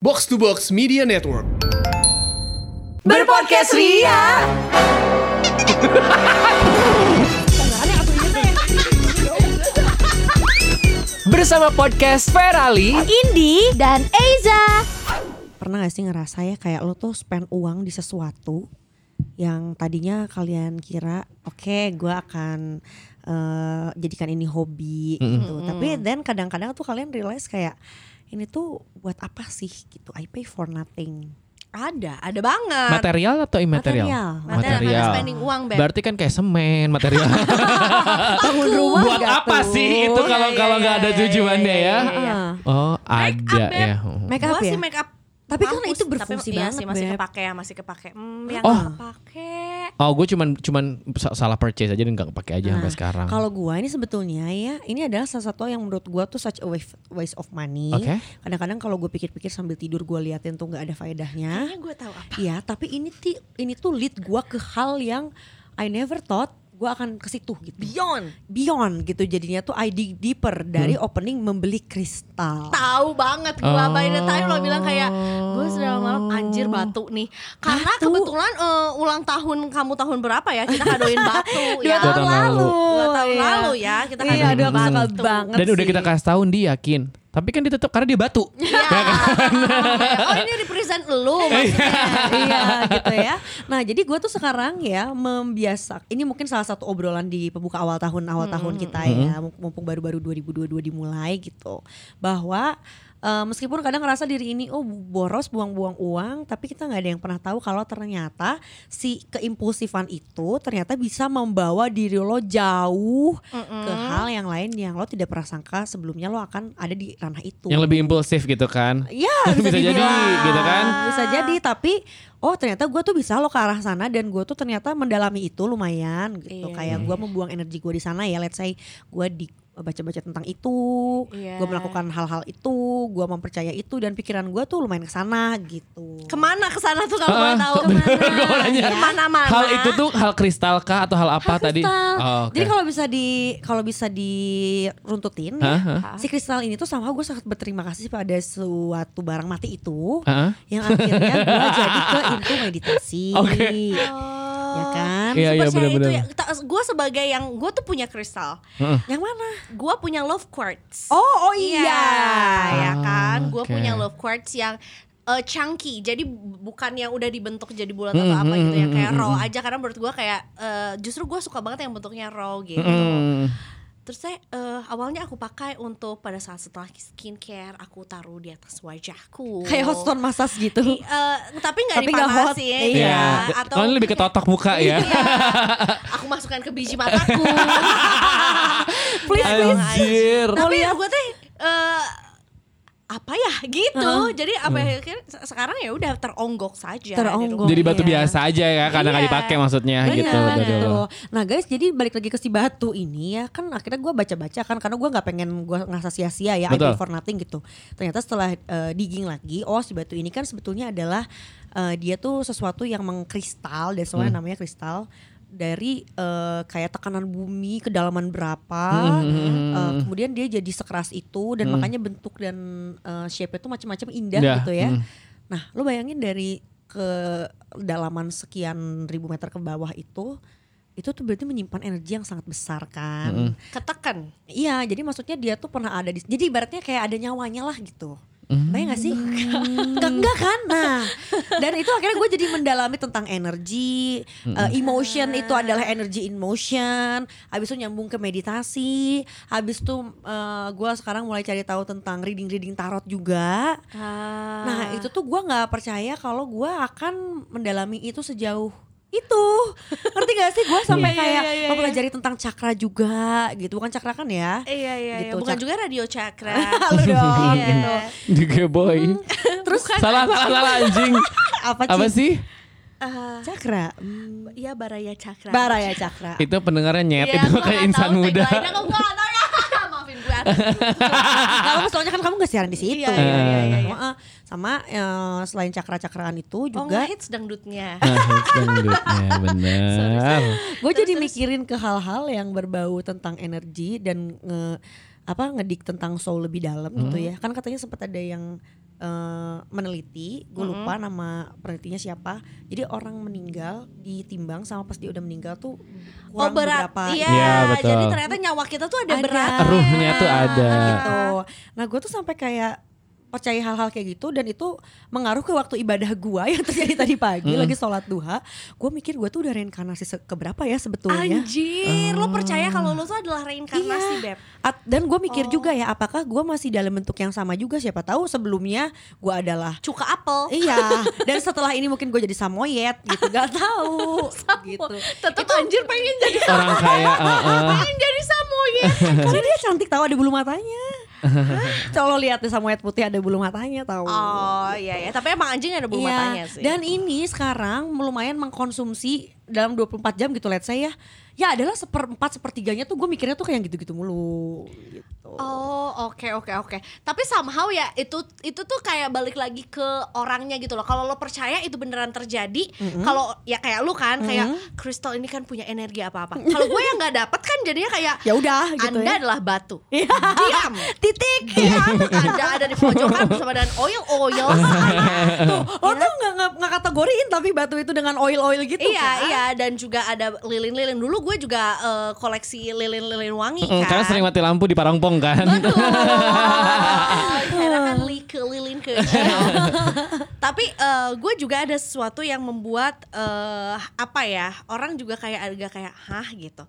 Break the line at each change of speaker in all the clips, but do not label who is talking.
Box to Box Media Network.
Berpodcast Ria. Bersama podcast Ferali.
Indi dan Eiza.
pernah gak sih ngerasa ya kayak lo tuh spend uang di sesuatu yang tadinya kalian kira oke gua akan eh, jadikan ini hobi gitu tapi then kadang-kadang tuh kalian realize kayak ini tuh buat apa sih gitu I pay for nothing
Ada, ada banget.
Material atau immaterial?
material,
Material, karena spending uang, Beb.
Berarti kan kayak semen material.
bangun rumah
Buat
nggak
apa
tuh?
sih itu
Iya,
kalau
iya,
kalau nggak
iya,
ada
iya,
tujuannya
iya,
ya?
iya, iya.
Oh
Make
ada
up, Beb.
ya.
make up
Gua
ya
sih make up.
Tapi kan
mampus,
itu berfungsi
iya
banget,
sih, masih
Beb.
kepake, masih kepake. Hmm, yang
Oh.
nggak kepake.
Oh gue cuman cuman sa- salah purchase aja dan nggak kepake aja Iya,
Nah,
sampai sekarang.
Nah, Kalau gua ini sebetulnya ya, ini adalah salah satu yang menurut gua tuh such a waste, waste of money.
Oke.
Kadang-kadang kalau gue pikir-pikir sambil tidur gua liatin tuh nggak ada faedahnya.
Kayaknya gue tahu apa.
Iya, tapi ini ti, ini tuh lead gua ke hal yang I never thought gua akan ke situ gitu.
Beyond.
Beyond gitu jadinya tuh I dig deeper dari
Hmm.
opening membeli kristal.
Tahu banget gue
Oh.
by the time lo bilang kayak gue sudah malam anjir batu nih. Karena
Batu.
kebetulan eh, ulang tahun kamu tahun berapa ya kita kadoin batu ya.
tahun lalu.
Dua tahun
Iya.
lalu ya kita
Iya,
kadoin
aduh aku suka
batu.
banget
Dan udah
sih.
kita kasih tahu dia yakin. Tapi kan dia tetap karena dia batu.
Iya. oh ini represent lu maksudnya.
iya gitu ya. Nah jadi gue tuh sekarang ya membiasak. Ini mungkin salah satu obrolan di pembuka awal tahun awal tahun kita ya. Mumpung baru-baru 2022 dimulai gitu. Bahwa eh, meskipun kadang ngerasa diri ini oh boros buang-buang uang, tapi kita nggak ada yang pernah tahu kalau ternyata si keimpulsifan itu ternyata bisa membawa diri lo jauh ke hal yang lain yang lo tidak pernah sangka sebelumnya lo akan ada di ranah itu.
Yang lebih impulsif gitu kan.
Iya,
Ya bisa,
Bisa jadi,
dibilang.
gitu kan?
Bisa jadi tapi oh ternyata gue tuh bisa lo ke arah sana dan gue tuh ternyata mendalami itu lumayan gitu
Iya.
kayak
Hmm.
gue membuang energi gue di sana ya let's say gue di baca-baca tentang itu,
Iya.
gue melakukan hal-hal itu, gue mempercaya itu dan pikiran gue tuh lumayan kesana gitu.
Kemana kesana tuh kalau boleh
Ah,
tahu
gua mau nanya.
Kemana-mana
Hal itu tuh hal kristal kah atau hal apa
Hal
tadi?
kristal.
Oh, oke.
Jadi kalau bisa di kalau bisa diruntutin, ya,
Hah, hah.
si kristal ini tuh sama gue sangat berterima kasih pada suatu barang mati itu
Heeh.
yang akhirnya gue jadi ke into meditasi,
Oke.
Oh.
ya kan?
Iya, iya, benar-benar.
Gue ya, sebagai yang Gue tuh punya kristal
Heeh.
Yang mana?
Gue punya love quartz
Oh, oh
Iya Ya
Ah,
kan Gue
oke.
punya love quartz yang eh, chunky jadi bukan yang udah dibentuk jadi bulat
Hmm,
atau apa gitu ya kayak raw aja karena menurut gue kayak eh, justru gue suka banget yang bentuknya raw gitu
Hmm.
Terus saya eh, awalnya aku pakai untuk pada saat setelah skincare aku taruh di atas wajahku.
Kayak hot stone massage gitu.
I- eh, tapi nggak
Tapi nggak hot,
dipanasin ya,
Iya.
Iya.
Atau
Kalau ini lebih ke totok muka ya.
Iya. aku masukkan ke biji mataku.
Please,
Dan-
Anjir.
Tapi gue teh eh, apa ya gitu. Jadi apa ya, akhirnya se- sekarang ya udah teronggok saja. di
Teronggok.
rumah.
Jadi batu
Iya.
biasa aja ya, kadang
Oh,
kali
Iya.
dipakai maksudnya gitu.
Benar,
dari
gitu.
lo.
Nah guys, jadi balik lagi ke si batu ini ya kan akhirnya gue baca-baca kan karena gue nggak pengen gue ngerasa sia-sia ya I
Betul.
pay for nothing gitu. Ternyata setelah eh, digging lagi, oh si batu ini kan sebetulnya adalah eh, dia tuh sesuatu yang mengkristal dan
Hmm.
soalnya namanya kristal dari eh, kayak tekanan bumi kedalaman berapa,
Hmm,
eh, kemudian dia jadi sekeras itu dan makanya bentuk dan eh, shape-nya tuh macam-macam indah
Indah,
gitu ya.
mm.
Nah, lu bayangin dari kedalaman sekian ribu meter ke bawah itu, itu tuh berarti menyimpan energi yang sangat besar kan.
ketekan.
Iya, jadi maksudnya dia tuh pernah ada di jadi ibaratnya kayak ada nyawanya lah gitu. Bayang gak sih? Enggak, enggak kan? Nah, dan itu akhirnya gue jadi mendalami tentang energi, eh, emotion itu adalah energy in motion, habis itu nyambung ke meditasi, habis itu eh, gue sekarang mulai cari tahu tentang reading-reading tarot juga.
Ah.
Nah itu tuh gue nggak percaya kalau gue akan mendalami itu sejauh itu ngerti gak sih gue
Iya,
sampai kayak
iya, iya,
mempelajari tentang cakra juga gitu bukan cakra kan ya
Iya iya iya.
Gitu,
Bukan
Cak.
juga radio cakra.
Lu dong
Iya.
gitu
Juga boy.
terus
Kan
Salah salah salah anjing.
apa,
Apa
sih
sih?
Ah,
cakra Hmm,
Iya baraya cakra.
baraya cakra
Itu pendengarnya nyet itu
gua Iya,
kayak
nggak
insan
tahu
muda.
tagline-nya, gua nggak tahu ya. Maafin gue.
kalau soalnya kan kamu gak siaran di situ
Iya, iya, iya, iya, iya.
Heeh. sama eh, selain cakra cakraan itu
Oh
juga
ngehits dangdutnya.
Nah, Ya, hits dangdutnya, benar.
gue jadi mikirin ke hal-hal yang berbau tentang
Hmm.
energi dan nge apa ngedik tentang soul lebih dalam gitu ya kan katanya sempat ada yang eh, meneliti, gue
Hmm.
lupa nama penelitinya siapa. Jadi orang meninggal ditimbang sama pas dia udah meninggal tuh kurang
berat.
berapa
Iya,
Iya, betul.
jadi ternyata nyawa kita tuh ada,
Ada.
berat.
Ruhnya tuh
Ah,
ada.
gitu. Nah gue tuh sampai kayak percaya hal-hal kayak gitu dan itu mengaruh ke waktu ibadah gua yang terjadi tadi pagi
Hmm.
lagi sholat duha. Gue mikir gue tuh udah reinkarnasi se- keberapa ya sebetulnya.
Anjir,
Ah.
lo percaya kalau lo tuh adalah reinkarnasi,
Iya.
Beb?
At- dan gue mikir
Oh.
juga ya apakah gue masih dalam bentuk yang sama juga siapa tahu sebelumnya gue adalah
Cuka apel.
iya dan setelah ini mungkin gue jadi samoyed gitu gak tahu gitu.
Tetep anjir pengen jadi
Orang kaya
Kan?
eh, eh.
pengen jadi samoyed.
Karena dia cantik tahu ada bulu matanya. Kalau lihat deh samoyed putih ada bulu matanya tahu.
Oh iya ya, tapi emang anjing ada bulu
Iya,
matanya sih.
Dan ini sekarang lumayan mengkonsumsi dalam 24 jam gitu let's say ya. Ya adalah seperempat sepertiganya tuh gue mikirnya tuh kayak yang gitu-gitu mulu gitu.
Oh oke oke oke. Tapi somehow ya itu itu tuh kayak balik lagi ke orangnya gitu loh. Kalau lo percaya itu beneran terjadi, kalau ya kayak lu kan kayak kristal ini kan punya energi apa apa. Kalau gue yang nggak dapet kan jadinya kayak
Ya udah gitu
Anda
ya.
adalah batu.
Iya.
Diam.
Titik.
Diam. Anda ada di pojokan bersama dengan oil oil.
tuh, lo tuh nggak nggak- nggak kategoriin tapi batu itu dengan oil oil gitu
iya
kan?
iya dan juga ada lilin-lilin. Dulu gue juga eh, koleksi lilin-lilin wangi
Mm,
kan.
Karena sering mati lampu di Parongpong kan.
Betul. Karena kan li ke lilin ke. Tapi eh, gue juga ada sesuatu yang membuat eh, apa ya orang juga kayak agak kayak hah gitu.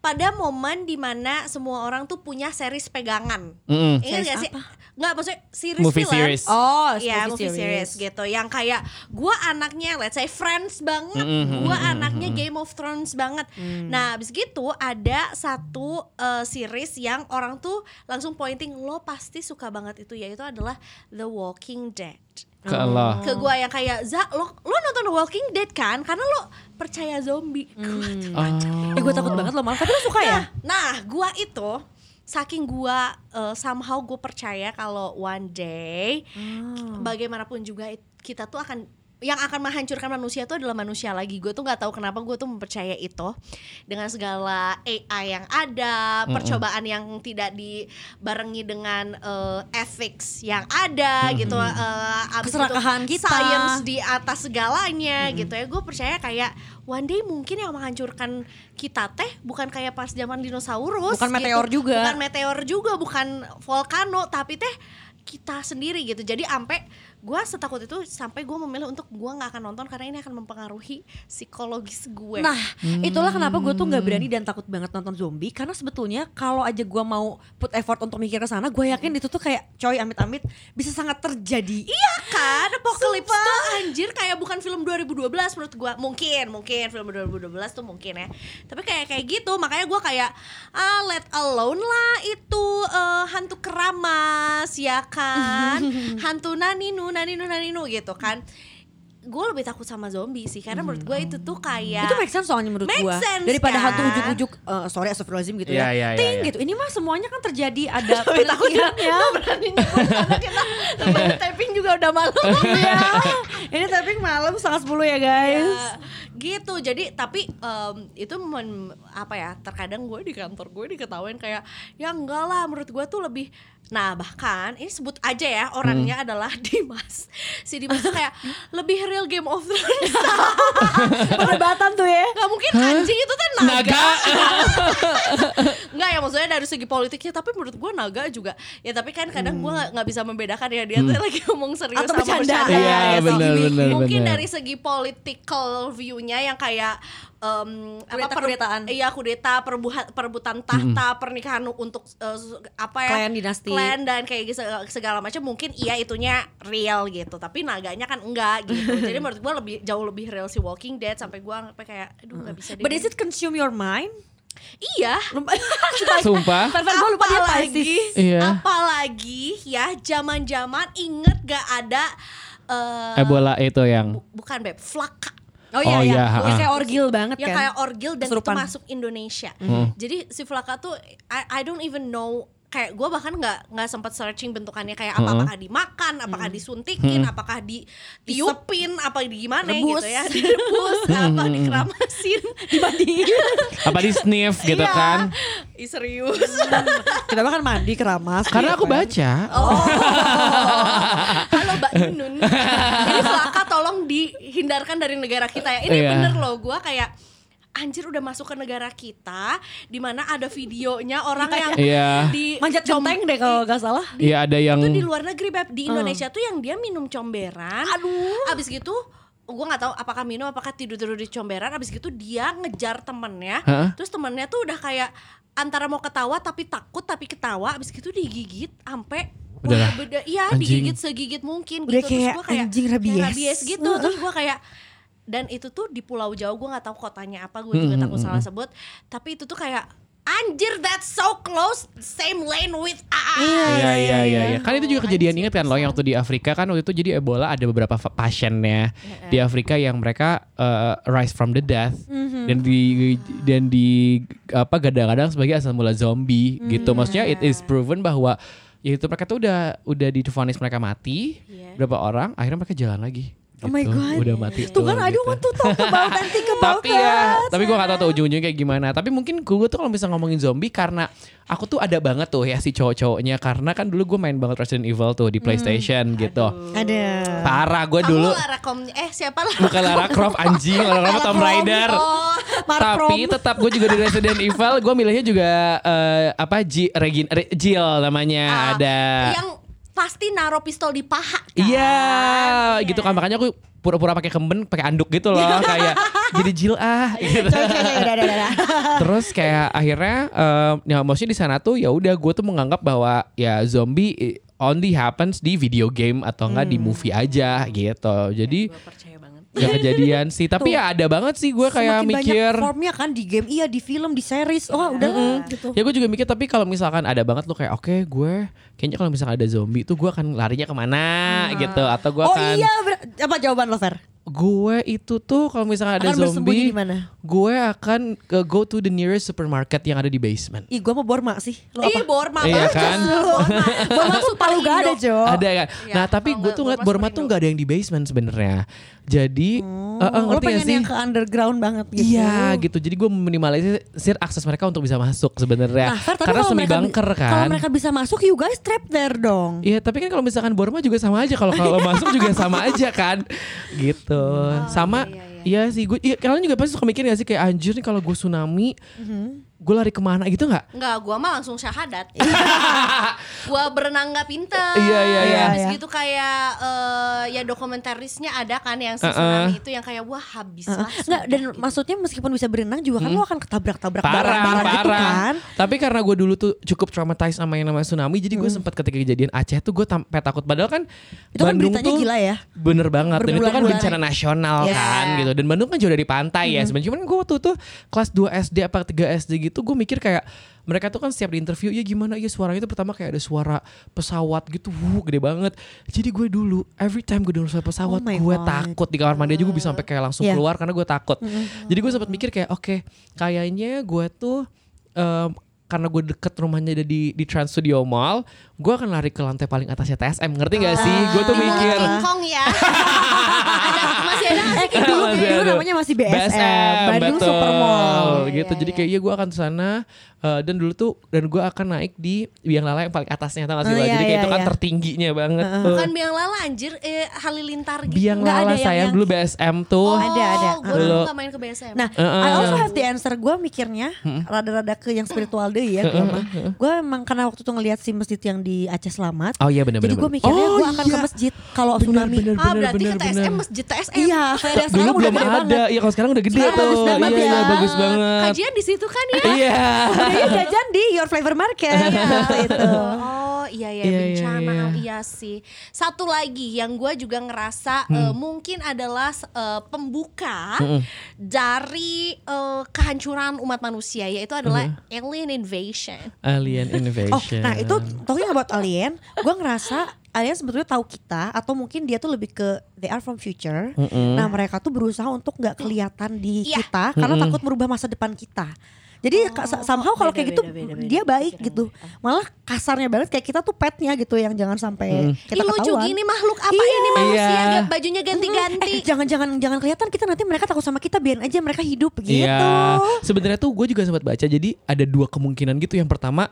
Pada momen dimana semua orang tuh punya series pegangan.
Mm-mm.
Ingat gak
Series
sih? Nggak maksudnya series
Movie
film.
series.
Oh,
ya movie series gitu yang kayak gua anaknya let's say Friends banget gua anaknya Game of Thrones banget
Hmm.
nah abis gitu ada satu eh, series yang orang tuh langsung pointing lo pasti suka banget itu yaitu adalah The Walking Dead
Ke Allah.
ke gua yang kayak za lo lo nonton The Walking Dead kan karena lo percaya zombie Gua tuh
Oh.
Eh gue takut banget loh malah tapi Hmm. lo suka ya?
Nah, gua itu saking gua uh, somehow gue percaya kalau one day
Oh.
bagaimanapun juga it- kita tuh akan yang akan menghancurkan manusia itu adalah manusia lagi. Gue tuh nggak tahu kenapa gue tuh mempercaya itu dengan segala AI yang ada, percobaan yang tidak dibarengi dengan uh, ethics yang ada gitu. Uh, abis itu
Keserakahan kita.
science di atas segalanya gitu ya gue percaya kayak one day mungkin yang menghancurkan kita teh bukan kayak pas zaman dinosaurus
Bukan meteor
gitu.
juga.
bukan meteor juga bukan volcano tapi teh kita sendiri gitu jadi ampe gue setakut itu sampai gue memilih untuk gue nggak akan nonton karena ini akan mempengaruhi psikologis gue
Nah itulah kenapa gue tuh nggak berani dan takut banget nonton zombie karena sebetulnya kalau aja gue mau put effort untuk mikir ke sana gue yakin itu tuh kayak coy amit-amit bisa sangat terjadi. Iya.
kan Apocalypse tuh anjir kayak bukan film 2012 menurut gua mungkin mungkin film 2012 tuh mungkin ya tapi kayak kayak gitu makanya gua kayak ah let alone lah itu eh, hantu keramas ya kan hantu naninu naninu naninu gitu kan gue lebih takut sama zombie sih karena menurut gue itu tuh kayak
Itu make sense soalnya menurut
Make
gue
sense,
daripada
kan?
hantu ujuk-ujuk eh, sorry astagfirullahaladzim gitu ya.
Iya, iya, iya,
Ting
iya.
gitu. Ini mah semuanya kan terjadi ada
Tapi takutnya
penelitiannya.
lo berani nyebut karena kita lembaga taping juga udah malam
Iya. Ini tapi malam setengah 10 ya guys.
Ya, gitu jadi tapi em, itu men, apa ya terkadang gue di kantor gue diketawain kayak ya enggak lah menurut gue tuh lebih nah bahkan ini sebut aja ya orangnya adalah Dimas si Dimas tuh kayak lebih real Game of Thrones
Perdebatan tuh ya.
nggak mungkin anjing itu tuh naga,
Naga. ah,
nggak ya maksudnya dari segi politiknya tapi menurut gue naga juga ya tapi kan kadang gue nggak nggak bisa membedakan ya dia tuh lagi ngomong serius
Atau
sama
bercanda.
bercanda
Iya,
ya, so
benar, benar,
mungkin
benar.
dari segi political view-nya yang kayak em,
Kudeta-
per-
kudetaan.
iya kudeta perbuha- perebutan tahta pernikahan untuk eh, su- apa ya
Klan dinasti.
klan dan kayak gitu seg- segala macam mungkin iya itunya real gitu tapi naganya kan enggak gitu jadi menurut gue lebih jauh lebih real si Walking Dead sampai gue sampai kayak aduh nggak bisa deh
Hmm. But is it consume your mind?
iya
Lupa.
Sumpah.
Fun fact, gua lupa dia
apalagi
Pisces.
Iya.
apalagi ya zaman-zaman inget gak ada eh,
Ebola itu yang.
bukan beb flaka
Oh iya iya.
Oh, iya,
Yang
ha-ha.
kayak orgil banget
yang
kan.
kayak orgil dan
Kesurupan.
itu masuk Indonesia.
Hmm.
Jadi si Flaka tuh I, I don't even know kayak gue bahkan nggak nggak sempat searching bentukannya kayak
Hmm.
apa apakah dimakan, apakah
Hmm.
disuntikin, apakah ditiupin, apa di gimana
Rebus.
gitu ya, direbus, apa
Hmm.
dikeramasin,
Dibandingin.
Apa di sniff gitu
Iya.
kan.
Ih, serius.
Hmm. Kita bahkan mandi
Iya,
keramas.
kan?
Karena
gitu
aku
kan.
baca.
Oh. Halo nun. Jadi Flaka tolong dihindarkan dari negara kita ya. Ini
Iya.
bener loh gue kayak anjir udah masuk ke negara kita di mana ada videonya orang yang
Iya.
di
Manjat
com-
genteng deh kalau gak salah.
Iya ada yang
itu di luar negeri beb di
Hmm.
Indonesia tuh yang dia minum comberan
Aduh.
abis gitu gue nggak tahu apakah minum apakah tidur tidur di comberan abis gitu dia ngejar temennya
Hah?
terus temennya tuh udah kayak antara mau ketawa tapi takut tapi ketawa abis gitu digigit ampe
Udah lah.
beda iya
Anjing.
digigit segigit mungkin
Udah
gitu
kayak
gua
anjing rabies.
gitu terus gue kayak dan itu tuh di Pulau Jawa gue nggak tahu kotanya apa gue juga
Hmm,
takut
hmm,
salah sebut tapi itu tuh kayak anjir that's so close same lane with us
Iya iya iya iya. Kan itu
Oh,
juga kejadian
anjing.
ingat kan lo yang waktu di Afrika kan waktu itu jadi Ebola ada beberapa fa- pasiennya di Afrika yang mereka eh, rise from the death
Mm-hmm.
dan di dan di apa gadang-gadang sebagai asal mula zombie gitu. Maksudnya it
Mm-hmm.
is proven bahwa ya itu mereka tuh udah udah divonis mereka mati
Iya.
berapa orang akhirnya mereka jalan lagi.
Oh my
Gitu,
God.
Udah mati.
Tuh kan
tuh,
I don't
gitu.
want to talk about and think about
tapi ya
that.
tapi gue gak tau tuh ujung-ujungnya kayak gimana tapi mungkin gue tuh kalau bisa ngomongin zombie karena aku tuh ada banget tuh ya si cowok-cowoknya karena kan dulu gue main banget Resident Evil tuh di PlayStation gitu
Ada.
parah gue
Kamu
dulu
Lara Kom eh siapa Lara?
bukan Lara Croft anjing kalau Lara Croft Tomb Raider
Oh,
Marprom.
tapi tetap gue juga di Resident Evil gue milihnya juga eh, apa Ji, Regin, Re- Jill namanya
ah,
ada
yang pasti naro pistol di paha. kan?
kan? Iya, gitu kan makanya aku pura-pura pakai kemben, pakai anduk gitu loh, kayak jadi jil ah. gitu.
Coy, coy, coy, udah, udah, udah, udah.
Terus kayak akhirnya em, ya maksudnya di sana tuh ya udah gue tuh menganggap bahwa ya zombie i- only happens di video game atau enggak di
Hmm.
movie aja gitu. Jadi
Gua percaya banget.
nggak kejadian sih, tapi ya ada banget sih gue kayak
Semakin
mikir
banyak formnya kan di game, iya di film, di series. Oh, udah gitu.
Ya gue juga mikir tapi kalau misalkan ada banget lo kayak oke gue kayaknya kalau misalkan ada zombie tuh gue akan larinya kemana gitu atau gue
oh
akan
iya, ber- apa jawaban lo Fer?
gue itu tuh kalau misalkan ada
Akan bersembunyi di
zombie
mana?
gue akan ke go to the nearest supermarket yang ada di basement
Ih, gua mau Borma sih. Lo
Ih,
apa?
Borma
Iya
banget
kan?
lu, Borma.
Borma tuh Palu gak ada, Jo.
ada kan
Iya,
nah tapi
kalau
gue
nggak
tuh ngeliat
Borma
Borma
seperti
tuh
itu.
nggak ada yang di basement sebenarnya jadi eh,
lo
eh, ngerti gak
Oh, pengen
sih
yang ke underground banget gitu.
Iya gitu, jadi gue meminimalisir akses mereka untuk bisa masuk sebenarnya.
Nah, Fer, tapi
ya. Karena
kalau
semi
mereka,
bunker
Kalau
kan.
mereka bisa masuk, you guys trap there dong.
Iya, tapi kan kalau misalkan Borma juga sama aja kalau kalau masuk juga sama aja kan. Gitu. sama
iya,
iya, sih gue iya, kalian juga pasti suka mikir gak sih kayak anjir nih kalau gue tsunami
Mhm.
gue lari kemana gitu nggak?
Enggak, gua mah langsung syahadat. gua berenang gak pintar.
Iya, iya,
iya.
Habis
Iya.
gitu kayak eh, ya dokumentarisnya ada kan yang si
Uh-uh.
tsunami itu yang kayak wah habis
Heeh.
lah.
Nggak, dan maksudnya meskipun bisa berenang juga kan lo akan ketabrak-tabrak
gitu. Hmm. parah
barang-barang
parah
gitu kan.
tapi karena gue dulu tuh cukup traumatized sama yang namanya tsunami jadi gue sempat ketika kejadian Aceh tuh gue sampai takut padahal kan
Hmm. Itu kan
Bandung
beritanya
tuh
gila ya.
bener banget dan itu kan
Berbulan-bulan.
bencana nasional
Yes. Hmm.
kan gitu dan Bandung kan jauh dari pantai ya sebenarnya cuman gue waktu tuh kelas 2 SD apa 3 SD gitu gue mikir kayak mereka tuh kan setiap di interview ya gimana ya suaranya itu pertama kayak ada suara pesawat gitu wuh gede banget jadi gue dulu every time gue denger suara pesawat
Oh my
gue
God.
takut takut di kamar mandi aja gue bisa sampai kayak langsung
Iya. Mm-hmm.
keluar karena gue takut. Jadi gue sempat mikir kayak oke kayaknya gue tuh em, karena gue deket rumahnya ada di di Trans Studio Mall, gue akan lari ke lantai paling atasnya TSM ngerti gak sih? Gue
Ah.
tuh mikir
King Kong ya. ada, masih ada nggak sih King Kong?
Dulu,
Masih
dulu
ada.
namanya masih BSM, Bandung
betul.
Supermall.
gitu. Jadi kayak iya gue akan sana eh, dan dulu tuh dan gue akan naik di biang lala yang paling atasnya tau gak sih?
Oh,
Lo?
iya,
Jadi kayak
iya,
itu kan
iya.
tertingginya banget.
Bukan biang lala anjir, eh, halilintar gitu.
Biang
Nggak ada
lala
yang-
sayang
yang-
dulu BSM tuh.
Oh,
Ada, ada.
Gue dulu
Dulu.
gak main ke BSM.
Nah,
Heeh. Hmm.
I also have the answer. Gue mikirnya rada-rada ke yang spiritual deh ya. Gue emang karena waktu itu ngelihat si masjid yang di Aceh Selamat.
Oh, iya, benar,
Jadi
benar,
gue
benar.
mikirnya
Oh,
gue akan ke
iya.
masjid kalau oh,
Bener,
tsunami. kan
bener,
ah
bener,
berarti
bener,
ke TSM
bener.
masjid TSM.
Iya,
Daerah
sekarang
Dulu
udah
belum
gede banget.
ada, ya kalau sekarang udah gede
Sekarang
tuh.
bagus banget
Iya,
ya.
iya, bagus banget.
Kajian di situ kan ya.
Iya.
Budaya jajan di Your Flavor Market waktu itu.
Oh iya iya
Iya,
bencana
iya,
iya, sih. Satu lagi yang gue juga ngerasa
Hmm.
eh, mungkin adalah eh, pembuka dari eh, kehancuran umat manusia yaitu adalah
Hmm.
alien invasion.
Alien Invasion.
Oh, nah itu talking about alien, gue ngerasa alien sebetulnya tahu kita atau mungkin dia tuh lebih ke they are from future. Nah mereka tuh berusaha untuk nggak kelihatan di
Iya. Oh,
kita karena takut merubah masa depan kita. Jadi ka- sa- somehow kalau kayak gitu
beda, beda, beda.
dia baik gitu. Malah kasarnya banget kayak kita tuh petnya gitu yang jangan
Mm.
sampai kita
Ih, lucu
ketahuan.
gini makhluk apa
Iya.
ini manusia
Iya. Hmm.
Gak- bajunya ganti-ganti.
Eh, jangan-jangan jangan kelihatan kita nanti mereka takut sama kita biarin aja mereka hidup gitu.
Iya. Sebenarnya tuh gue juga sempat baca jadi ada dua kemungkinan gitu. Yang pertama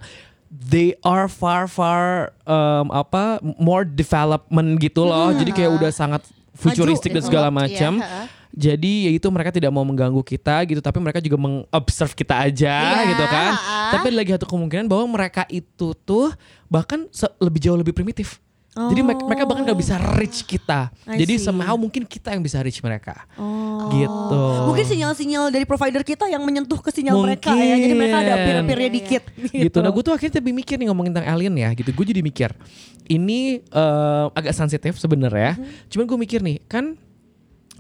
they are far far um, apa more development gitu loh.
Hmm,
Jadi kayak udah sangat futuristik
ya,
dan
Maju,
segala
develop,
macam.
iya, ha.
Jadi ya itu mereka tidak mau mengganggu kita gitu, tapi mereka juga mengobserve kita aja
Iya,
gitu kan.
ha.
Tapi ada lagi satu kemungkinan bahwa mereka itu tuh bahkan se- lebih jauh lebih primitif. Jadi mereka mereka bahkan gak bisa reach kita.
Oh. I
Jadi
see.
somehow mungkin kita yang bisa reach mereka.
Oh.
Gitu.
Mungkin sinyal-sinyal dari provider kita yang menyentuh ke sinyal mereka ya. Jadi mereka ada
Mungkin.
peer-peernya dikit.
Iya,
gitu. Nah, gue tuh akhirnya tapi mikir nih ngomongin tentang alien ya, gitu. Gue jadi mikir ini eh, agak sensitif sebenarnya. Cuman gue mikir nih, kan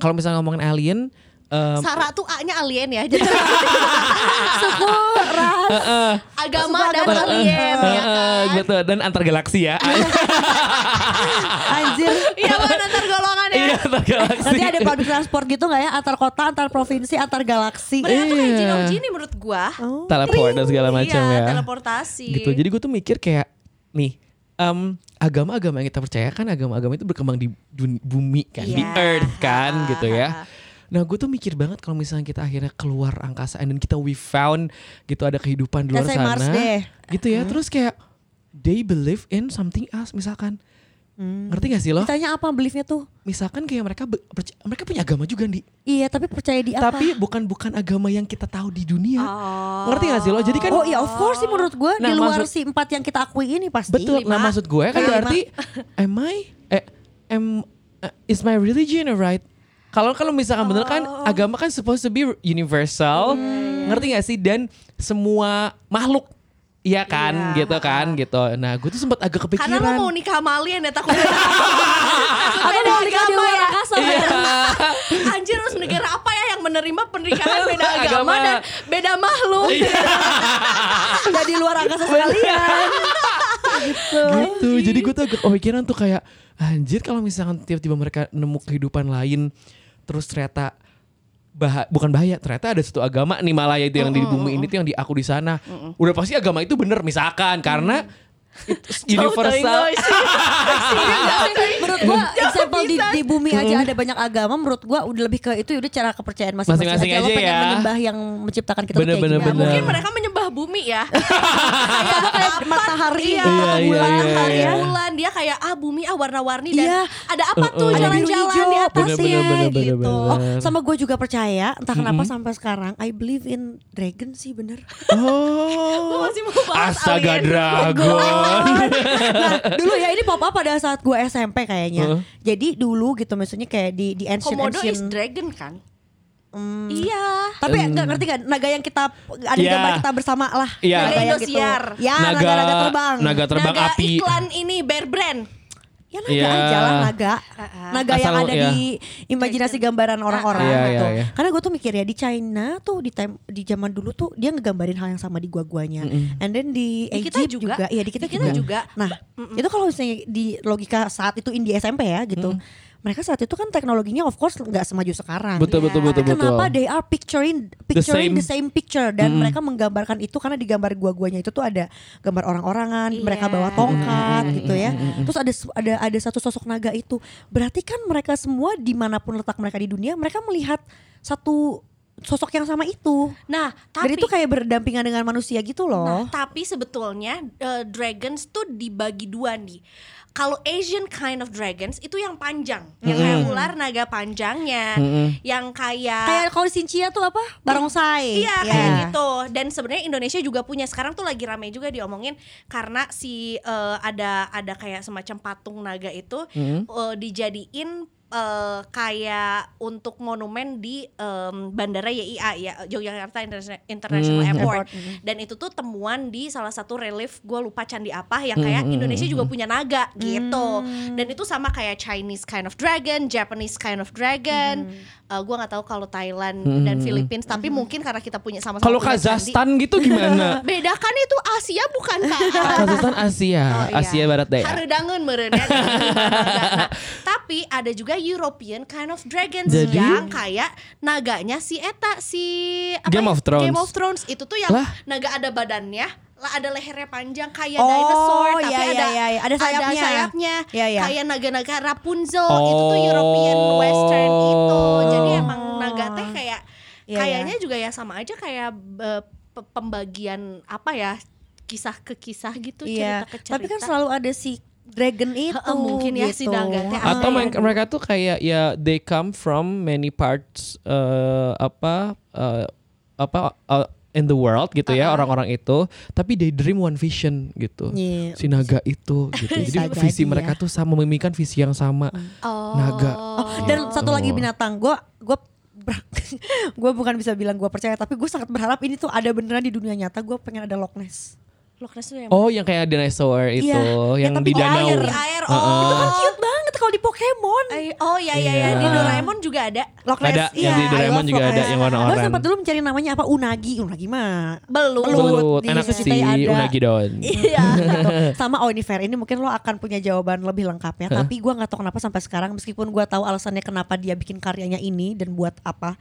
kalau misalnya ngomongin alien, eh,
Sara tuh A-nya alien ya. Jadi agama
Suku
dan
agama.
alien
eh,
ya
eh,
kan.
gitu dan antar galaksi ya,
Anjir.
Iya bukan antar golongan ya.
iya antar galaksi.
Nanti ada public transport gitu gak ya? Antar kota, antar provinsi, antar galaksi. Eh.
Mereka tuh kayak
Iya.
jin-jin nih menurut gua.
Oh.
teleport dan segala macam
iya,
ya.
teleportasi.
Iya.
Gitu. Jadi gue tuh mikir kayak nih em, agama-agama yang kita percaya kan agama-agama itu berkembang di dun- bumi kan, di
Iya.
earth kan
Ha,
gitu
ha,
ya. Nah gue tuh mikir banget kalau misalnya kita akhirnya keluar angkasa dan kita we found gitu ada kehidupan di luar
Let's say
sana.
Mars deh. Uh-huh.
Gitu ya. Terus kayak they believe in something else misalkan.
Hmm.
Ngerti gak sih lo?
Ditanya apa beliefnya tuh?
Misalkan kayak mereka be- perc- mereka punya agama juga nih.
Iya tapi percaya di apa?
Tapi bukan bukan agama yang kita tahu di dunia.
Oh.
Ngerti gak sih lo? Jadi kan
oh iya of course sih menurut gue
Nah,
di luar
maksud-
si empat yang kita akui ini pasti.
Betul. Nah,
Lima.
maksud gue kan
Lima.
berarti am I eh, am eh, is my religion a right? Kalau kalau misalkan bener kan
Oh.
agama kan supposed to be universal.
Hmm.
Ngerti gak sih? Dan semua makhluk Iya kan,
Iya.
gitu kan, gitu. Nah, gue tuh sempat agak kepikiran.
Karena lo mau nikah sama alien ya takutnya. Takutnya
Atau
ada
mau nikah di
agama
luar
ya.
angkasa.
Iya.
Anjir harus negara apa ya yang menerima pernikahan beda agama,
Agama. Iya.
dan beda makhluk.
Udah di luar angkasa sekalian. gitu.
gitu. Jadi gue tuh agak kepikiran tuh kayak anjir kalau misalkan tiba-tiba mereka nemu kehidupan lain terus ternyata bah bukan bahaya ternyata ada satu agama nih malah ya itu yang di bumi ini tuh yang diaku di sana udah pasti agama itu bener misalkan karena it's universal
Iya. menurut gua example di,
bisa.
di bumi
Hmm.
aja ada banyak agama menurut gua udah lebih ke itu udah cara kepercayaan masing-masing
Masing-masing
aja, lo
aja
pengen
ya.
menyembah yang menciptakan kita tuh
Bener,
kayak
bener,
gimana.
bener.
Ya, Mungkin mereka menyembah bumi ya.
Sama kayak matahari
Iya,
Iya, iya,
bulan,
iya,
hari,
iya.
bulan. Dia kayak, ah bumi, ah warna-warni. Dan
Iya.
ada apa tuh
Uh-uh. Ada
jalan-jalan
biru-hijau.
di atasnya
Bener, bener, bener,
gitu.
bener, bener.
Oh, sama gue juga percaya, entah kenapa sampai sekarang I believe in dragon sih bener.
Gue
oh
masih mau bahas alien.
astaga
Ah,
dragon
nah, dulu ya ini pop up pada saat gue SMP kayaknya.
Heeh.
Jadi dulu gitu maksudnya kayak di di ancient
Komodo is
ancient-
dragon kan?
Hmm,
Iya.
Tapi nggak ngerti kan naga yang kita ada
Iya.
gambar kita bersama lah.
Iya.
Naga yang gitu.
Indosiar.
Ya, naga naga terbang.
naga terbang
Naga
api
eh, iklan ini Bear Brand.
Ya naga
Iya.
aja lah naga. Naga yang
Asal-
ada
iya.
di imajinasi gambaran orang-orang
Iya,
gitu.
iya, iya.
Karena gue tuh mikir ya di China tuh di tem- di zaman dulu tuh dia ngegambarin hal yang sama di gua-guanya. And then di,
Di
Egypt
kita juga.
juga. Iya, di kita,
Di kita juga.
Nah, itu kalau misalnya di logika saat itu India SMP ya gitu. Mereka saat itu kan teknologinya of course nggak semaju sekarang.
betul betul betul betul
Iya. Kenapa they are picturing picturing the same, picture dan mereka menggambarkan itu karena di gambar gua-guanya itu tuh ada gambar orang-orangan,
Iya.
mereka bawa tongkat gitu ya. Terus ada s- ada ada satu sosok naga itu. Berarti kan mereka semua dimanapun letak mereka di dunia, mereka melihat satu sosok yang sama itu.
Nah,
dan
tapi
itu kayak berdampingan dengan manusia gitu
Nah,
loh.
tapi sebetulnya eh, dragons tuh dibagi dua nih. Kalau Asian kind of dragons itu yang panjang, yang kayak ular naga panjangnya, yang kayak
kayak kalau di Sincia tuh apa? Barongsai.
Iya kayak
Ya.
gitu. Dan sebenarnya Indonesia juga punya. Sekarang tuh lagi rame juga diomongin karena si eh, ada ada kayak semacam patung naga itu eh, dijadiin eh, kayak untuk monumen di em, bandara YIA ya Yogyakarta Interna- International Airport. Dan itu tuh temuan di salah satu relief gue lupa candi apa yang kayak Indonesia juga punya naga gitu. Dan itu sama kayak Chinese kind of dragon, Japanese kind of dragon. Eh, gua nggak tahu kalau Thailand dan Philippines tapi mungkin karena kita punya sama-sama
kalau
punya candi.
Kazakhstan gitu gimana
Beda kan itu Asia bukan kak?
Kazakhstan Asia
Oh, iya.
Asia Barat deh
Harudangun meureun ya. Nah, tapi ada juga European kind of dragons
Jadi?
yang kayak naganya si eta si
Game
ya?
of Thrones.
Game of Thrones itu tuh yang
Lah.
naga ada badannya, lah ada lehernya panjang kayak
Oh,
dinosaur tapi
iya,
ada
iya, iya. Ada sayapnya.
sayapnya.
Iya, iya.
Kayak naga-naga Rapunzel itu tuh European
Oh.
Western itu. Jadi emang naga teh kayak
Iya,
kayaknya juga ya sama aja kayak eh, pe- pembagian apa ya kisah ke kisah gitu cerita
Iya.
ke cerita
Tapi kan selalu ada si dragon itu
Heeh, mungkin ya, si
gitu.
danggatnya
Heeh.
Atau mereka, mereka tuh kayak ya they come from many parts eh, apa eh, apa eh, in the world gitu
Uh-huh.
ya orang-orang itu, tapi they dream one vision gitu.
Iya.
Si naga itu gitu.
Bisa
Jadi
jadi
visi mereka
ya. Hmm.
tuh sama memimikkan visi yang sama.
oh.
Naga.
Dan
Gitu.
satu lagi binatang, gue gue gue bukan bisa bilang gue percaya tapi gue sangat berharap ini tuh ada beneran di dunia nyata gue pengen ada Loch Ness
Loch Ness tuh yang
Oh, yang kayak dinosaur itu,
Iya. Ya,
yang
tapi
di
di
danau.
air, air, oh.
itu kan cute banget kalau di Pokemon
Ay- oh ya ya ya
Iya.
di Doraemon juga ada
Loch Ness iya.
Ada, yang di
I
Doraemon
love
juga
Loch
ada,
Ness.
yang warna
Gua
oranye.
sempat dulu mencari namanya apa unagi unagi mah
belut
Belut,
di
enak
Sungai
sih,
ada.
unagi don.
iya
Gitu. sama oh ini fair ini mungkin lo akan punya jawaban lebih lengkapnya tapi gue nggak tahu kenapa sampai sekarang meskipun gue tahu alasannya kenapa dia bikin karyanya ini dan buat apa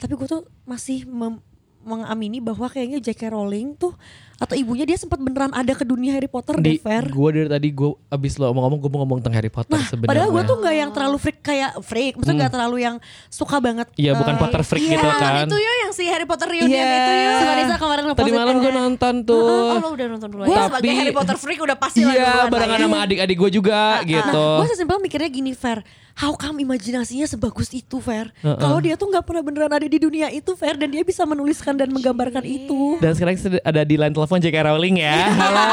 tapi gue tuh masih mem- mengamini bahwa kayaknya J.K. Rowling tuh atau ibunya dia sempat beneran ada ke dunia Harry Potter deh
Di,
fair Nah,
gue dari tadi gue abis lo ngomong-ngomong gue mau ngomong tentang Harry Potter sebenarnya. Hmm.
Padahal gue tuh nggak yang terlalu freak kayak freak, maksudnya nggak terlalu yang suka banget.
Iya, bukan
eh,
Potter freak
iya.
gitu kan.
itu yo yang si Harry Potter reunion
Iya.
itu yo
Si Vanessa kemarin
Tadi
ngepostin
malam
kan.
gue nonton tuh.
oh lo udah nonton dulu
Gua-
ya sebagai
Tapi-
Harry Potter freak udah pasti lah
Iya,
duluan lah
barengan
ya.
sama adik-adik gue juga gitu.
Nah, gue sesimpel mikirnya gini, Fer. How come imajinasinya sebagus itu, Fer?
Heeh.
Kalau dia tuh nggak pernah beneran ada di dunia itu, Fer, dan dia bisa menuliskan dan menggambarkan
Iya,
itu.
Dan sekarang sed- ada di line telepon JK Rowling ya. Halo.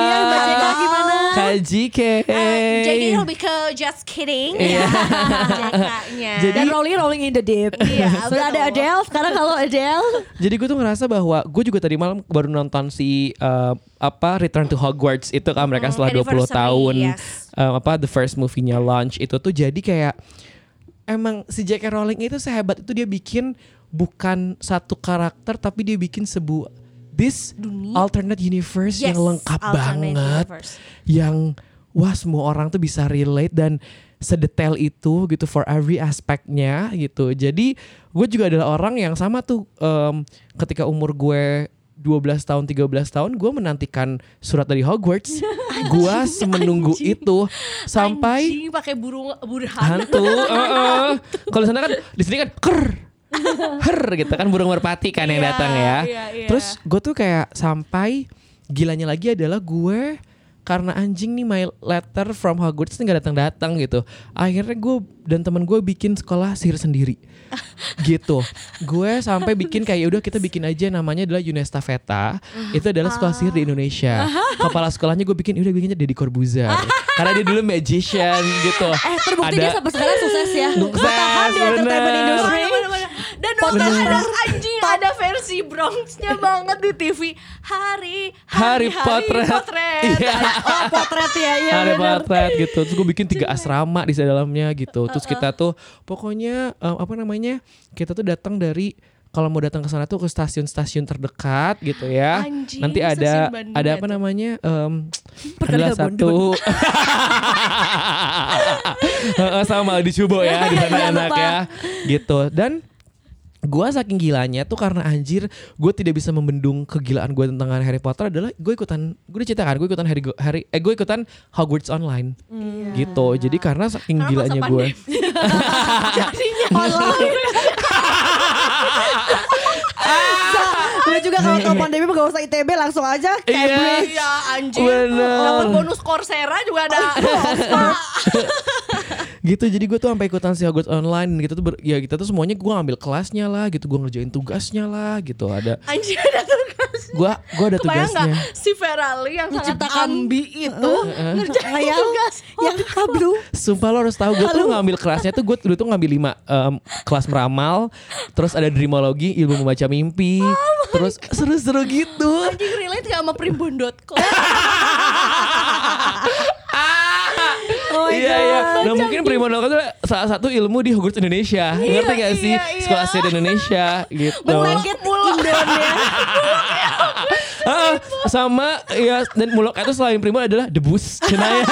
Iya, Mbak Jeka gimana?
Kak JK.
Ah,
Eh, jadi lebih ke just kidding
Iya.
ya Jekanya.
Jadi-
Dan rolling rolling in the deep.
Iya,
Sudah ada
betul.
Adele, sekarang kalau Adele.
Jadi gue tuh ngerasa bahwa gue juga tadi malam baru nonton si eh, apa Return to Hogwarts itu kan mereka
Hmm,
setelah 20
anniversary,
tahun
yes.
eh, apa the first movie-nya launch itu tuh jadi kayak emang si J.K. Rowling itu sehebat itu dia bikin bukan satu karakter tapi dia bikin sebuah this
Dunia.
alternate universe yang
Yes,
lengkap
alternate
banget
universe.
yang wah semua orang tuh bisa relate dan sedetail itu gitu for every aspeknya gitu. Jadi gue juga adalah orang yang sama tuh em, ketika umur gue 12 tahun 13 tahun gue menantikan surat dari Hogwarts. gue semenunggu
anjing.
itu sampai
Anjing, pakai burung burhan
hantu. heeh. Kalau di sana kan di sini kan ker. Her gitu kan burung merpati kan yang
Iya,
datang ya.
iya, iya.
Terus gue tuh kayak sampai gilanya lagi adalah gue karena anjing nih my letter from Hogwarts ini gak datang-datang gitu. Akhirnya gue dan teman gue bikin sekolah sihir sendiri. gitu. Gue sampai bikin kayak "Ya udah kita bikin aja namanya adalah Yunesta Veta.
Uh-huh.
Itu adalah sekolah sihir di Indonesia. Kepala sekolahnya gue bikin "Ya udah bikinnya Deddy Corbuzier. karena dia dulu magician gitu.
Eh, terbukti
Ada-
dia sampai sekarang sukses ya.
Sukses,
Bertahan di entertainment
bener.
industry.
dan waktu ada anjing ada versi Bronxnya banget di TV hari
Hari potret. Iya.
Oh, potret ya, iya
ada
bener.
potret gitu terus gue bikin tiga asrama di dalamnya gitu terus kita tuh pokoknya eh, apa namanya kita tuh datang dari kalau mau datang ke sana tuh ke stasiun-stasiun terdekat gitu ya
Anjing,
nanti ada
stasiun Bandung
ada
ya
apa
tuh.
namanya em,
Perkedel
adalah satu Heeh, sama di Cubo ya
Iya,
di sana
Jangan
enak
lupa.
ya gitu dan Gua saking gilanya tuh karena anjir gue tidak bisa membendung kegilaan gue tentang Harry Potter adalah gue ikutan gue diceritakan gue kan, ikutan Harry, Harry eh gue ikutan Hogwarts online gitu jadi karena saking
Iya. Karena masa
gilanya Iya. gue
online. Lu juga kalau ke pandemi gak usah ITB langsung aja Cambridge.
Iya anjing
Bener.
Dapat bonus Coursera juga ada
gitu jadi gue tuh sampai ikutan si Hogwarts online gitu tuh ber- ya kita tuh semuanya gue ambil kelasnya lah gitu gue ngerjain tugasnya lah gitu ada
Anjing ada tugas
gue gue ada
Kebayang nggak
tugasnya
si Ferali yang sangat
Menciptakan-
ambi itu ngerjain
Yang-
tugas
Yang tablu
Sumpah lo harus tahu gue tuh ngambil kelasnya tuh gue dulu tuh ngambil lima em, kelas meramal, terus ada dreamologi, ilmu membaca mimpi,
Oh
terus seru-seru gitu.
Anjing relate gak sama primbon.com
Oh my
iya iya.
God.
Nah mungkin primologi tuh salah satu ilmu di Hogwarts Indonesia. Ngerti gak sih
iya, iya.
sekolah sihir Indonesia gitu.
Blanket Indonesia
Ah, sama ya dan mulok itu selain primol adalah debus cenaya.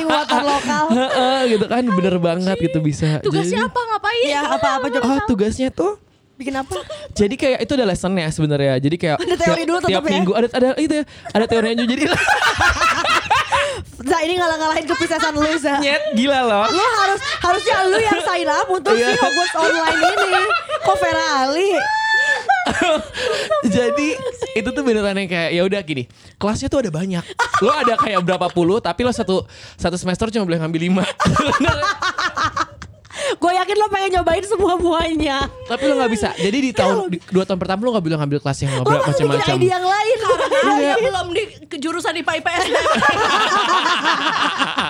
Di water lokal
ya. Heeh, gitu kan bener banget gitu bisa.
Tugasnya
Jadi-
apa ngapain
Iya apa-apa Jok
Ah tugasnya tuh
Bikin apa
Jadi kayak itu ada lessonnya sebenarnya. Jadi kayak
Ada teori
tiap-
dulu tetap
tiap
ya.
minggu ada ada itu ya, ada teorinya juga. Jadi
Za ini ngalah-ngalahin kepisahsan lu Za
nyet gila loh.
Lu harus Harusnya lu yang sign up Untuk si
Iya.
Hogwarts online ini Kok Vera Ali
Jadi itu tuh beneran yang kayak ya udah gini. Kelasnya tuh ada banyak. Lo ada kayak berapa puluh tapi lo satu satu semester cuma boleh ngambil lima.
Gue yakin lo pengen nyobain semua buahnya.
tapi lo nggak bisa. Jadi di tahun di dua tahun pertama lo nggak boleh ngambil kelas yang berapa
masih bikin
macam-macam.
ide yang lain.
Karena belum di ke jurusan IPA IPS.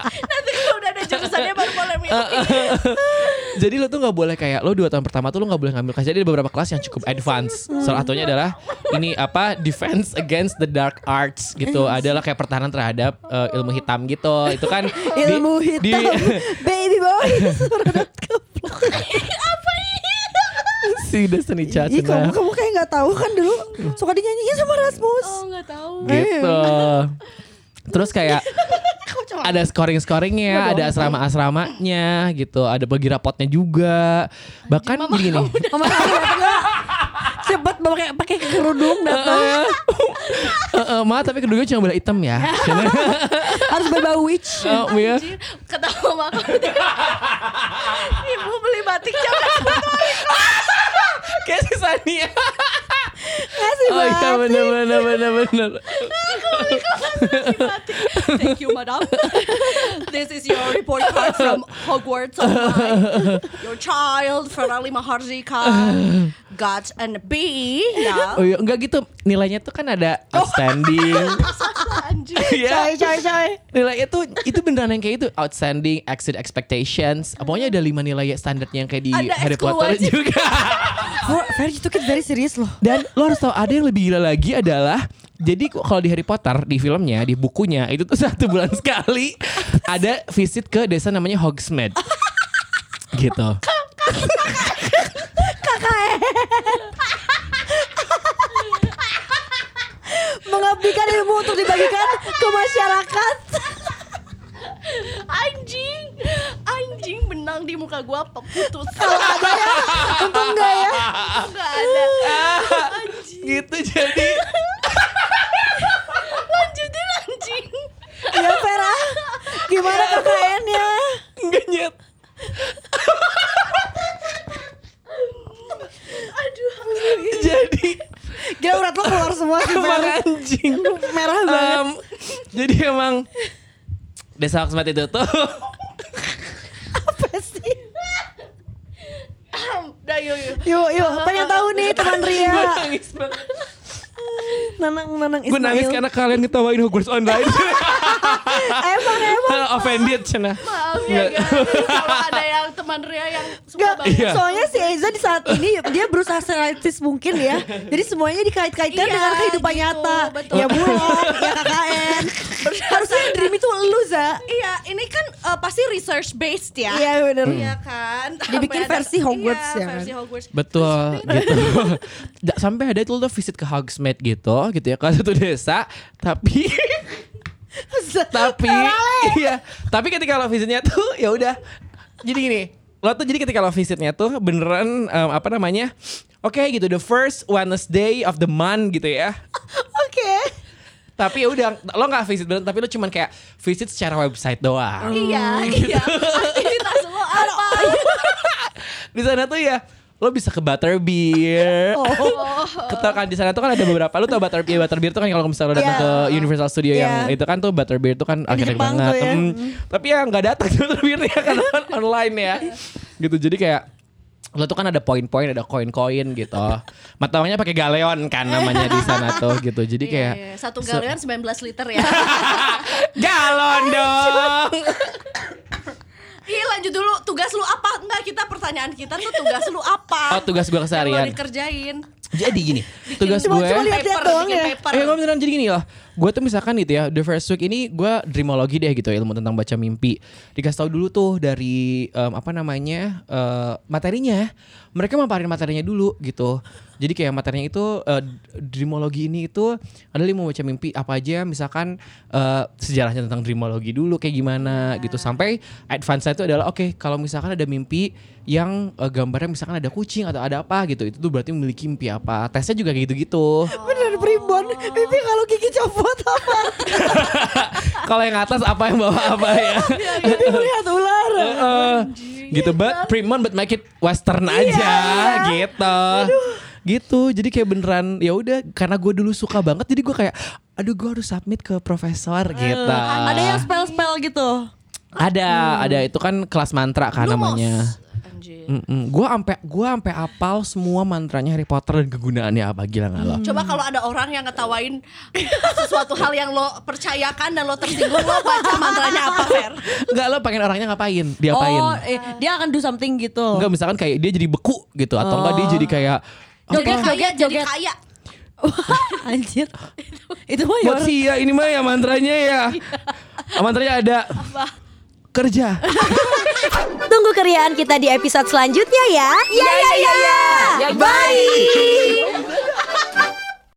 Nanti kalau udah ada jurusannya baru boleh milih.
Jadi lo tuh nggak boleh kayak lo dua tahun pertama tuh lo nggak boleh ngambil kelas. Jadi ada beberapa kelas yang cukup advance. Salah satunya adalah ini apa defense against the dark arts
Eh,
gitu.
iya
Adalah kayak pertahanan terhadap eh, ilmu hitam gitu. Itu kan di-
Ilmu hitam.
di-
Baby boy.
si Destiny
Ih, kamu,
Chachna
kamu kayak gak tahu kan dulu suka dinyanyiin sama Rasmus.
Oh nggak tahu.
gitu. Terus kayak
Kau coba.
ada scoring-scoringnya, ada asrama-asramanya gitu, ada bagi rapotnya juga. Bahkan gini nih.
Mama kamu datang gak? Cepet mama kayak pakai kerudung datang.
Eh, eh, Ma, tapi kedua cuma bola hitam ya.
Harus berbau witch.
Oh, Mia.
Anjir, kata mama aku Ibu beli batik jangan
Kayak si Sania.
Kasih
Oh iya
banget.
bener bener bener bener.
beli batik Thank you madam This is your report card from Hogwarts Online Your child Ferrari Mahardika Got an B Ya
Oh iya enggak gitu. Nilainya tuh kan ada
Oh.
outstanding.
Anjir
Iya.
coy, coy.
Nilainya tuh itu beneran yang kayak itu outstanding, exceed expectations. Pokoknya ada lima nilai standarnya yang kayak di
Ada
Harry Potter
ekskluasi.
juga.
Bro, Ferry itu kita very serius loh.
Dan lo harus tahu ada yang lebih gila lagi adalah jadi ku- kalau di Harry Potter di filmnya di bukunya itu tuh satu bulan sekali ada visit ke desa namanya Hogsmeade. gitu.
Mengabdikan ilmu untuk dibagikan ke masyarakat.
Anjing Anjing benang di muka gua pe- putus
Untung enggak ya.
Gak ada
Gitu jadi
Lanjutin anjing
Ya Vera, gimana
Iya.
KKN-nya?
nggak nyet.
Aduh
Jadi
Gila urat lo keluar semua sih
emang
Fer.
anjing.
Merah banget.
Em, jadi emang desa Hogsmeade itu tuh
Apa sih?
Dah yuk yuk
Yuk, yuk. Pengen tahu nih teman Ria.
Gue nangis banget.
Nanang, Nanang Ismail. Eh,
Gue nangis karena kalian ketawain Hogwarts online.
Emang, emang.
Offended cina.
Maaf ya
Nggak.
guys, kalau ada yang teman Ria yang suka
Gak,
banget.
Iya.
soalnya si Eza di saat ini dia berusaha realistis mungkin ya. Jadi semuanya dikait-kaitkan
Iya,
dengan kehidupan
gitu,
nyata.
betul.
Ya bulog, ya KKN. Harusnya yang dream itu lu, Za.
Iya, ini kan eh, pasti research based ya.
Iya bener.
Hmm.
Iya kan.
Dibikin
Sampai ada-
versi Hogwarts
iya,
ya kan?
Versi Hogwarts.
Betul gitu. Da- Sampai ada itu lo visit ke Hogsmeade gitu gitu ya ke satu desa tapi tapi iya tapi ketika lo visitnya tuh ya udah jadi gini lo tuh jadi ketika lo visitnya tuh beneran em, apa namanya oke gitu the first Wednesday of the month gitu ya
Oke.
tapi ya udah lo nggak visit beneran tapi lo cuman kayak visit secara website doang
Iya, iya. Aktivitas lo apa?
di sana tuh ya lo bisa ke Butterbeer Ketua kan di sana tuh kan ada beberapa lu tau Butterbeer Butterbeer tuh kan kalau misalnya lo datang
Iya.
ke Universal Studio
Iya.
yang itu kan tuh Butterbeer tuh kan arsitek
Jepang
banget
tuh ya.
Hmm. tapi ya nggak datang tuh Butterbeernya karena kan online ya gitu jadi kayak lo tuh kan ada poin-poin ada koin-koin gitu matanya pakai galeon kan namanya di sana tuh gitu jadi
Iya,
kayak
iya. satu galian 19 liter ya.
galon dong
Iya, lanjut dulu. Tugas lu apa? Enggak, kita pertanyaan kita tuh tugas lu apa?
oh tugas
Yang
gue
lo
keseharian
dikerjain.
jadi gini tugas
Cuma-
gue
cuma lihat- lihat doang
bikin
ya.
paper.
Eh gue beneran jadi gini loh Gue tuh misalkan gitu ya The first week ini gue dreamologi deh gitu Ilmu tentang baca mimpi Dikasih tahu dulu tuh dari em, Apa namanya eh, Materinya Mereka maparin materinya dulu gitu Jadi kayak materinya itu eh, Dreamologi ini itu Ada ilmu baca mimpi Apa aja misalkan eh, Sejarahnya tentang dreamologi dulu Kayak gimana
Iya.
gitu Sampai advance itu adalah Oke kalau misalkan ada mimpi Yang eh, gambarnya misalkan ada kucing Atau ada apa gitu Itu tuh berarti memiliki mimpi apa Tesnya juga kayak gitu-gitu
Bener primbon. Bibi kalau gigi copot apa?
kalau yang atas apa yang bawah apa
Iya,
ya Eh,
Bibi melihat ular. Iya,
Heeh. gitu but Primon but make it western aja gitu gitu jadi kayak beneran ya udah karena gue dulu suka banget jadi gue kayak aduh gue harus submit ke profesor gitu
Eh, Ada yang Hmm. spell-spell gitu.
ada ada itu kan kelas mantra kan
Lumos.
namanya
Anjir.
Mm-mm. Gua ampe gua ampe apal semua mantranya Harry Potter dan kegunaannya apa gila nggak lo?
Hmm.
Coba kalau ada orang yang ngetawain sesuatu hal yang lo percayakan dan lo tersinggung, lo baca mantranya apa, Fer?
Nggak lo pengen orangnya ngapain? Diapain?
Oh, eh, dia akan do something gitu.
Enggak misalkan kayak dia jadi beku gitu atau enggak dia
Oh.
jadi kayak
Jadi
Joget,
kaya,
joget,
jadi
joget.
kaya.
Anjir. Itu mah ya
buat
orang-
sia ini mah ya mantranya ya. mantranya ada kerja.
Ah, iya,
Iya,
Tunggu keriaan kita di episode selanjutnya ya. Ya ya ya. ya. Bye.